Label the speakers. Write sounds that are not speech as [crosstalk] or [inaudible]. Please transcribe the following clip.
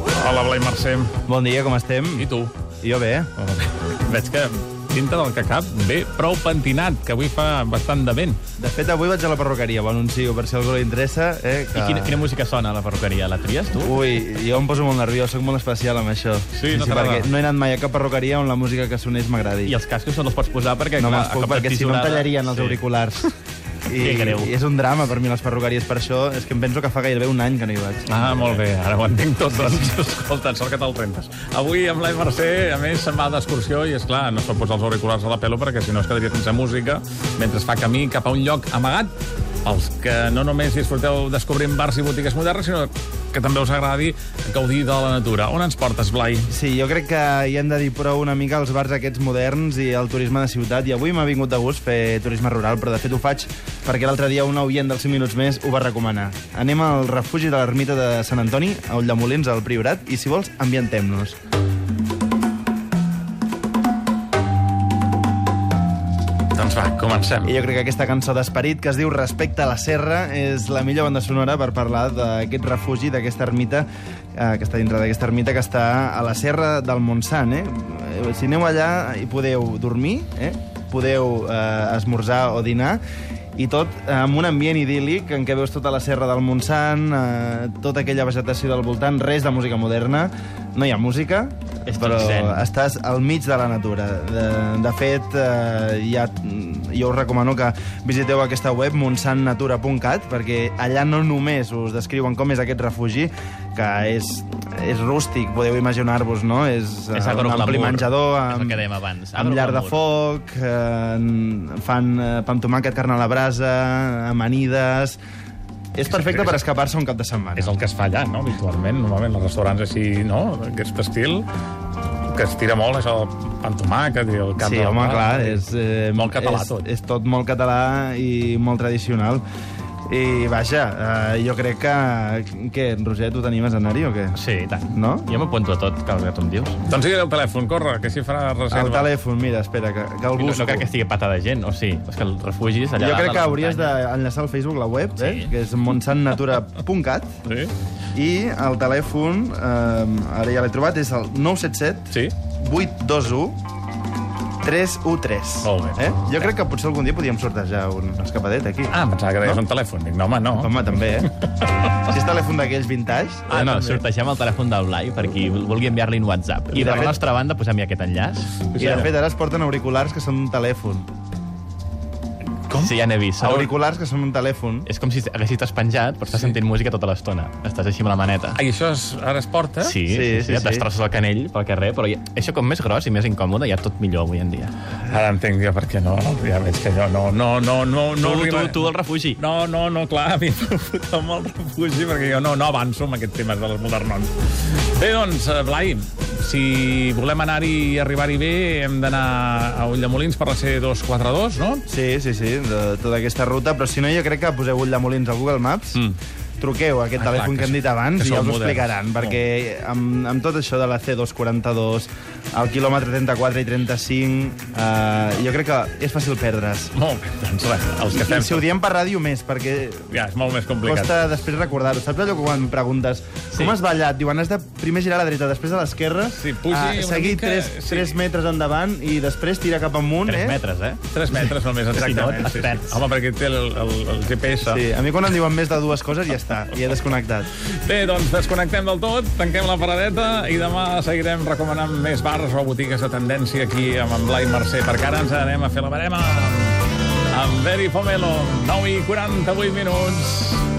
Speaker 1: Hola, Blai Mercè.
Speaker 2: Bon dia, com estem?
Speaker 1: I tu?
Speaker 2: Jo bé.
Speaker 1: Veig que dintre del que cap ve prou pentinat, que avui fa bastant de vent.
Speaker 2: De fet, avui vaig a la perruqueria, ho anuncio, per si a algú li interessa. Eh, que...
Speaker 1: I quina, quina música sona a la perruqueria? La tries, tu?
Speaker 2: Ui, jo em poso molt nerviós, sóc molt especial amb això.
Speaker 1: Sí, no t'agrada.
Speaker 2: perquè no he anat mai a cap perruqueria on la música que sonés m'agradi.
Speaker 1: I els cascos no els pots posar perquè...
Speaker 2: No
Speaker 1: clar,
Speaker 2: me'ls
Speaker 1: a
Speaker 2: puc,
Speaker 1: cop de
Speaker 2: perquè si no em
Speaker 1: tisorada-
Speaker 2: tallarien els
Speaker 1: Sí. [laughs]
Speaker 2: auriculars.
Speaker 1: Que greu.
Speaker 2: I és un drama per mi, les perruqueries. Per això és que em penso que fa gairebé un any que no hi vaig.
Speaker 1: Ah, molt bé, ara ho entenc tot, doncs. [laughs] Escolta, sort que te'l rentes. Avui amb l'Ai Mercè, a més, se'n va d'excursió i, és clar no se'n posa els auriculars a la pelo perquè si no es quedaria sense música mentre es fa camí cap a un lloc amagat. Els que no només disfruteu descobrint bars i botigues modernes, sinó que també us agradi gaudir de la natura. On ens portes, Blai?
Speaker 2: Sí, jo crec que hi hem de dir prou una mica als bars aquests moderns i al turisme de ciutat. I avui m'ha vingut de gust fer turisme rural, però de fet ho faig perquè l'altre dia un oient dels 5 minuts més ho va recomanar. Anem al refugi de l'ermita de Sant Antoni, a Ulldemolins, al Priorat, i si vols, ambientem-nos.
Speaker 1: Doncs va, comencem.
Speaker 2: I jo crec que aquesta cançó d'esperit, que es diu Respecte a la Serra, és la millor banda sonora per parlar d'aquest refugi, d'aquesta ermita, eh, que està dintre d'aquesta ermita, que està a la Serra del Montsant. Eh? Eh, Si aneu allà, hi podeu dormir, eh? podeu eh, esmorzar o dinar, i tot eh, amb un ambient idíl·lic en què veus tota la serra del Montsant, eh, tota aquella vegetació del voltant, res de música moderna, no hi ha música,
Speaker 1: És tot
Speaker 2: però
Speaker 1: zen.
Speaker 2: estàs al mig de la natura. De, de fet, eh, ja, jo us recomano que visiteu aquesta web montsantnatura.cat perquè allà no només us descriuen com és aquest refugi, que és, és rústic, podeu imaginar-vos, no? És, eh,
Speaker 3: És
Speaker 2: un
Speaker 3: agroglamour,
Speaker 2: ampli menjador,
Speaker 3: és el
Speaker 2: amb,
Speaker 3: que dèiem abans,
Speaker 2: amb llar de
Speaker 3: agroglamour.
Speaker 2: foc, eh, en- fan eh, pa amb tomàquet, carn a la brasa, amanides... És perfecte per escapar-se un cap de setmana.
Speaker 1: És el que es fa allà, no?, habitualment. Normalment, els restaurants així, no?, d'aquest estil, que es tira molt, això, el pa amb tomàquet i el cap
Speaker 2: Sí,
Speaker 1: de la
Speaker 2: home,
Speaker 1: mà.
Speaker 2: clar, és... Eh,
Speaker 1: Molt català,
Speaker 2: és,
Speaker 1: tot.
Speaker 2: És tot molt català i molt tradicional. I, vaja, eh, jo crec que... Què, Roger, tu t'animes a anar-hi o què?
Speaker 3: Sí, i tant.
Speaker 2: No?
Speaker 3: Jo m'apunto a tot, que el que tu em dius.
Speaker 1: Doncs digue'l el telèfon, corre, que així farà reserva.
Speaker 2: El telèfon, mira, espera, que, que el
Speaker 3: No,
Speaker 2: busco.
Speaker 3: no crec que estigui pata de gent, o sí. És que el refugis allà
Speaker 2: jo
Speaker 3: dalt
Speaker 2: crec
Speaker 3: a
Speaker 2: que
Speaker 3: la
Speaker 2: hauries
Speaker 3: muntanya.
Speaker 2: d'enllaçar al Facebook la web,
Speaker 3: Sí.
Speaker 2: eh? que és montsantnatura.cat,
Speaker 1: Sí?
Speaker 2: i el telèfon, eh, ara ja l'he trobat, és el 977
Speaker 1: Sí?
Speaker 2: 821 313.
Speaker 1: Molt bé.
Speaker 2: Eh? Jo crec que potser algun dia podíem sortejar un escapadet aquí.
Speaker 1: Ah, pensava que deies
Speaker 2: No?
Speaker 1: un telèfon. Dic, no, home, no.
Speaker 2: Home, també, [laughs] eh? Si és telèfon d'aquells vintage...
Speaker 3: Ah, no, sortegem el telèfon del Blai per qui vulgui enviar-li un WhatsApp.
Speaker 2: De
Speaker 3: I per
Speaker 2: fet-
Speaker 3: la nostra banda posem-hi aquest enllaç.
Speaker 2: I, de fet, ara es porten auriculars que són un telèfon.
Speaker 3: Com? Sí, ja n'he vist. Són-
Speaker 2: Auriculars que són un telèfon.
Speaker 3: És com si haguessis despenjat, però estàs sentint música tota l'estona. Estàs així amb la maneta.
Speaker 1: Ai, això es, ara es porta?
Speaker 3: Sí,
Speaker 2: Sí,
Speaker 3: sí, sí,
Speaker 2: sí,
Speaker 3: sí, ja
Speaker 2: sí.
Speaker 3: t'estrosses el canell pel carrer, però ja, això com més gros i més incòmode, ja tot millor avui en dia.
Speaker 1: Ara entenc jo per què no. Ja veig que jo no... No, no, no... no
Speaker 3: tu, tu,
Speaker 1: arribaré.
Speaker 3: tu, el refugi.
Speaker 1: No, no, no, clar, a mi em foteu molt refugi perquè jo no, no avanço amb aquests temes dels modernons. Bé, doncs, eh, Blai, si volem anar-hi i arribar-hi bé, hem d'anar a Ulldemolins per la C242, no?
Speaker 2: Sí, sí, sí, de tota aquesta ruta. Però si no, jo crec que poseu Ulldemolins al Google Maps, mm. truqueu a aquest
Speaker 1: Ah, clar,
Speaker 2: telèfon
Speaker 1: que
Speaker 2: que Mm. hem dit
Speaker 1: són-
Speaker 2: abans
Speaker 1: que
Speaker 2: i ja
Speaker 1: són
Speaker 2: us ho
Speaker 1: moderns.
Speaker 2: explicaran,
Speaker 1: Molt.
Speaker 2: perquè amb, amb tot això de la C242, el quilòmetre 34 i 35, eh, jo crec que és fàcil perdre's.
Speaker 1: Molt bé, doncs res, els que
Speaker 2: I si ho
Speaker 1: fem...
Speaker 2: diem per ràdio més, perquè
Speaker 1: Ja, és molt més complicat.
Speaker 2: costa després recordar-ho. Saps allò que quan preguntes com has ballat? Diuen, has de primer girar a la dreta, després a l'esquerra,
Speaker 1: Sí, pugi una
Speaker 2: seguir
Speaker 1: mica,
Speaker 2: 3,
Speaker 1: sí.
Speaker 2: 3 metres endavant i després tirar cap amunt.
Speaker 3: 3
Speaker 2: eh?
Speaker 3: metres, eh?
Speaker 1: 3 metres només, exactament.
Speaker 3: no,
Speaker 1: Sí, sí.
Speaker 3: perds.
Speaker 1: Home, perquè té el, el, el GPS.
Speaker 2: Sí, a mi quan em diuen més de dues coses ja està, ja he desconnectat.
Speaker 1: Bé, doncs desconnectem del tot, tanquem la paradeta i demà seguirem recomanant més bars o botigues de tendència aquí amb en Blai Mercè, perquè ara ens anem a fer la barema amb Veri Pomelo, 9 i 48 minuts.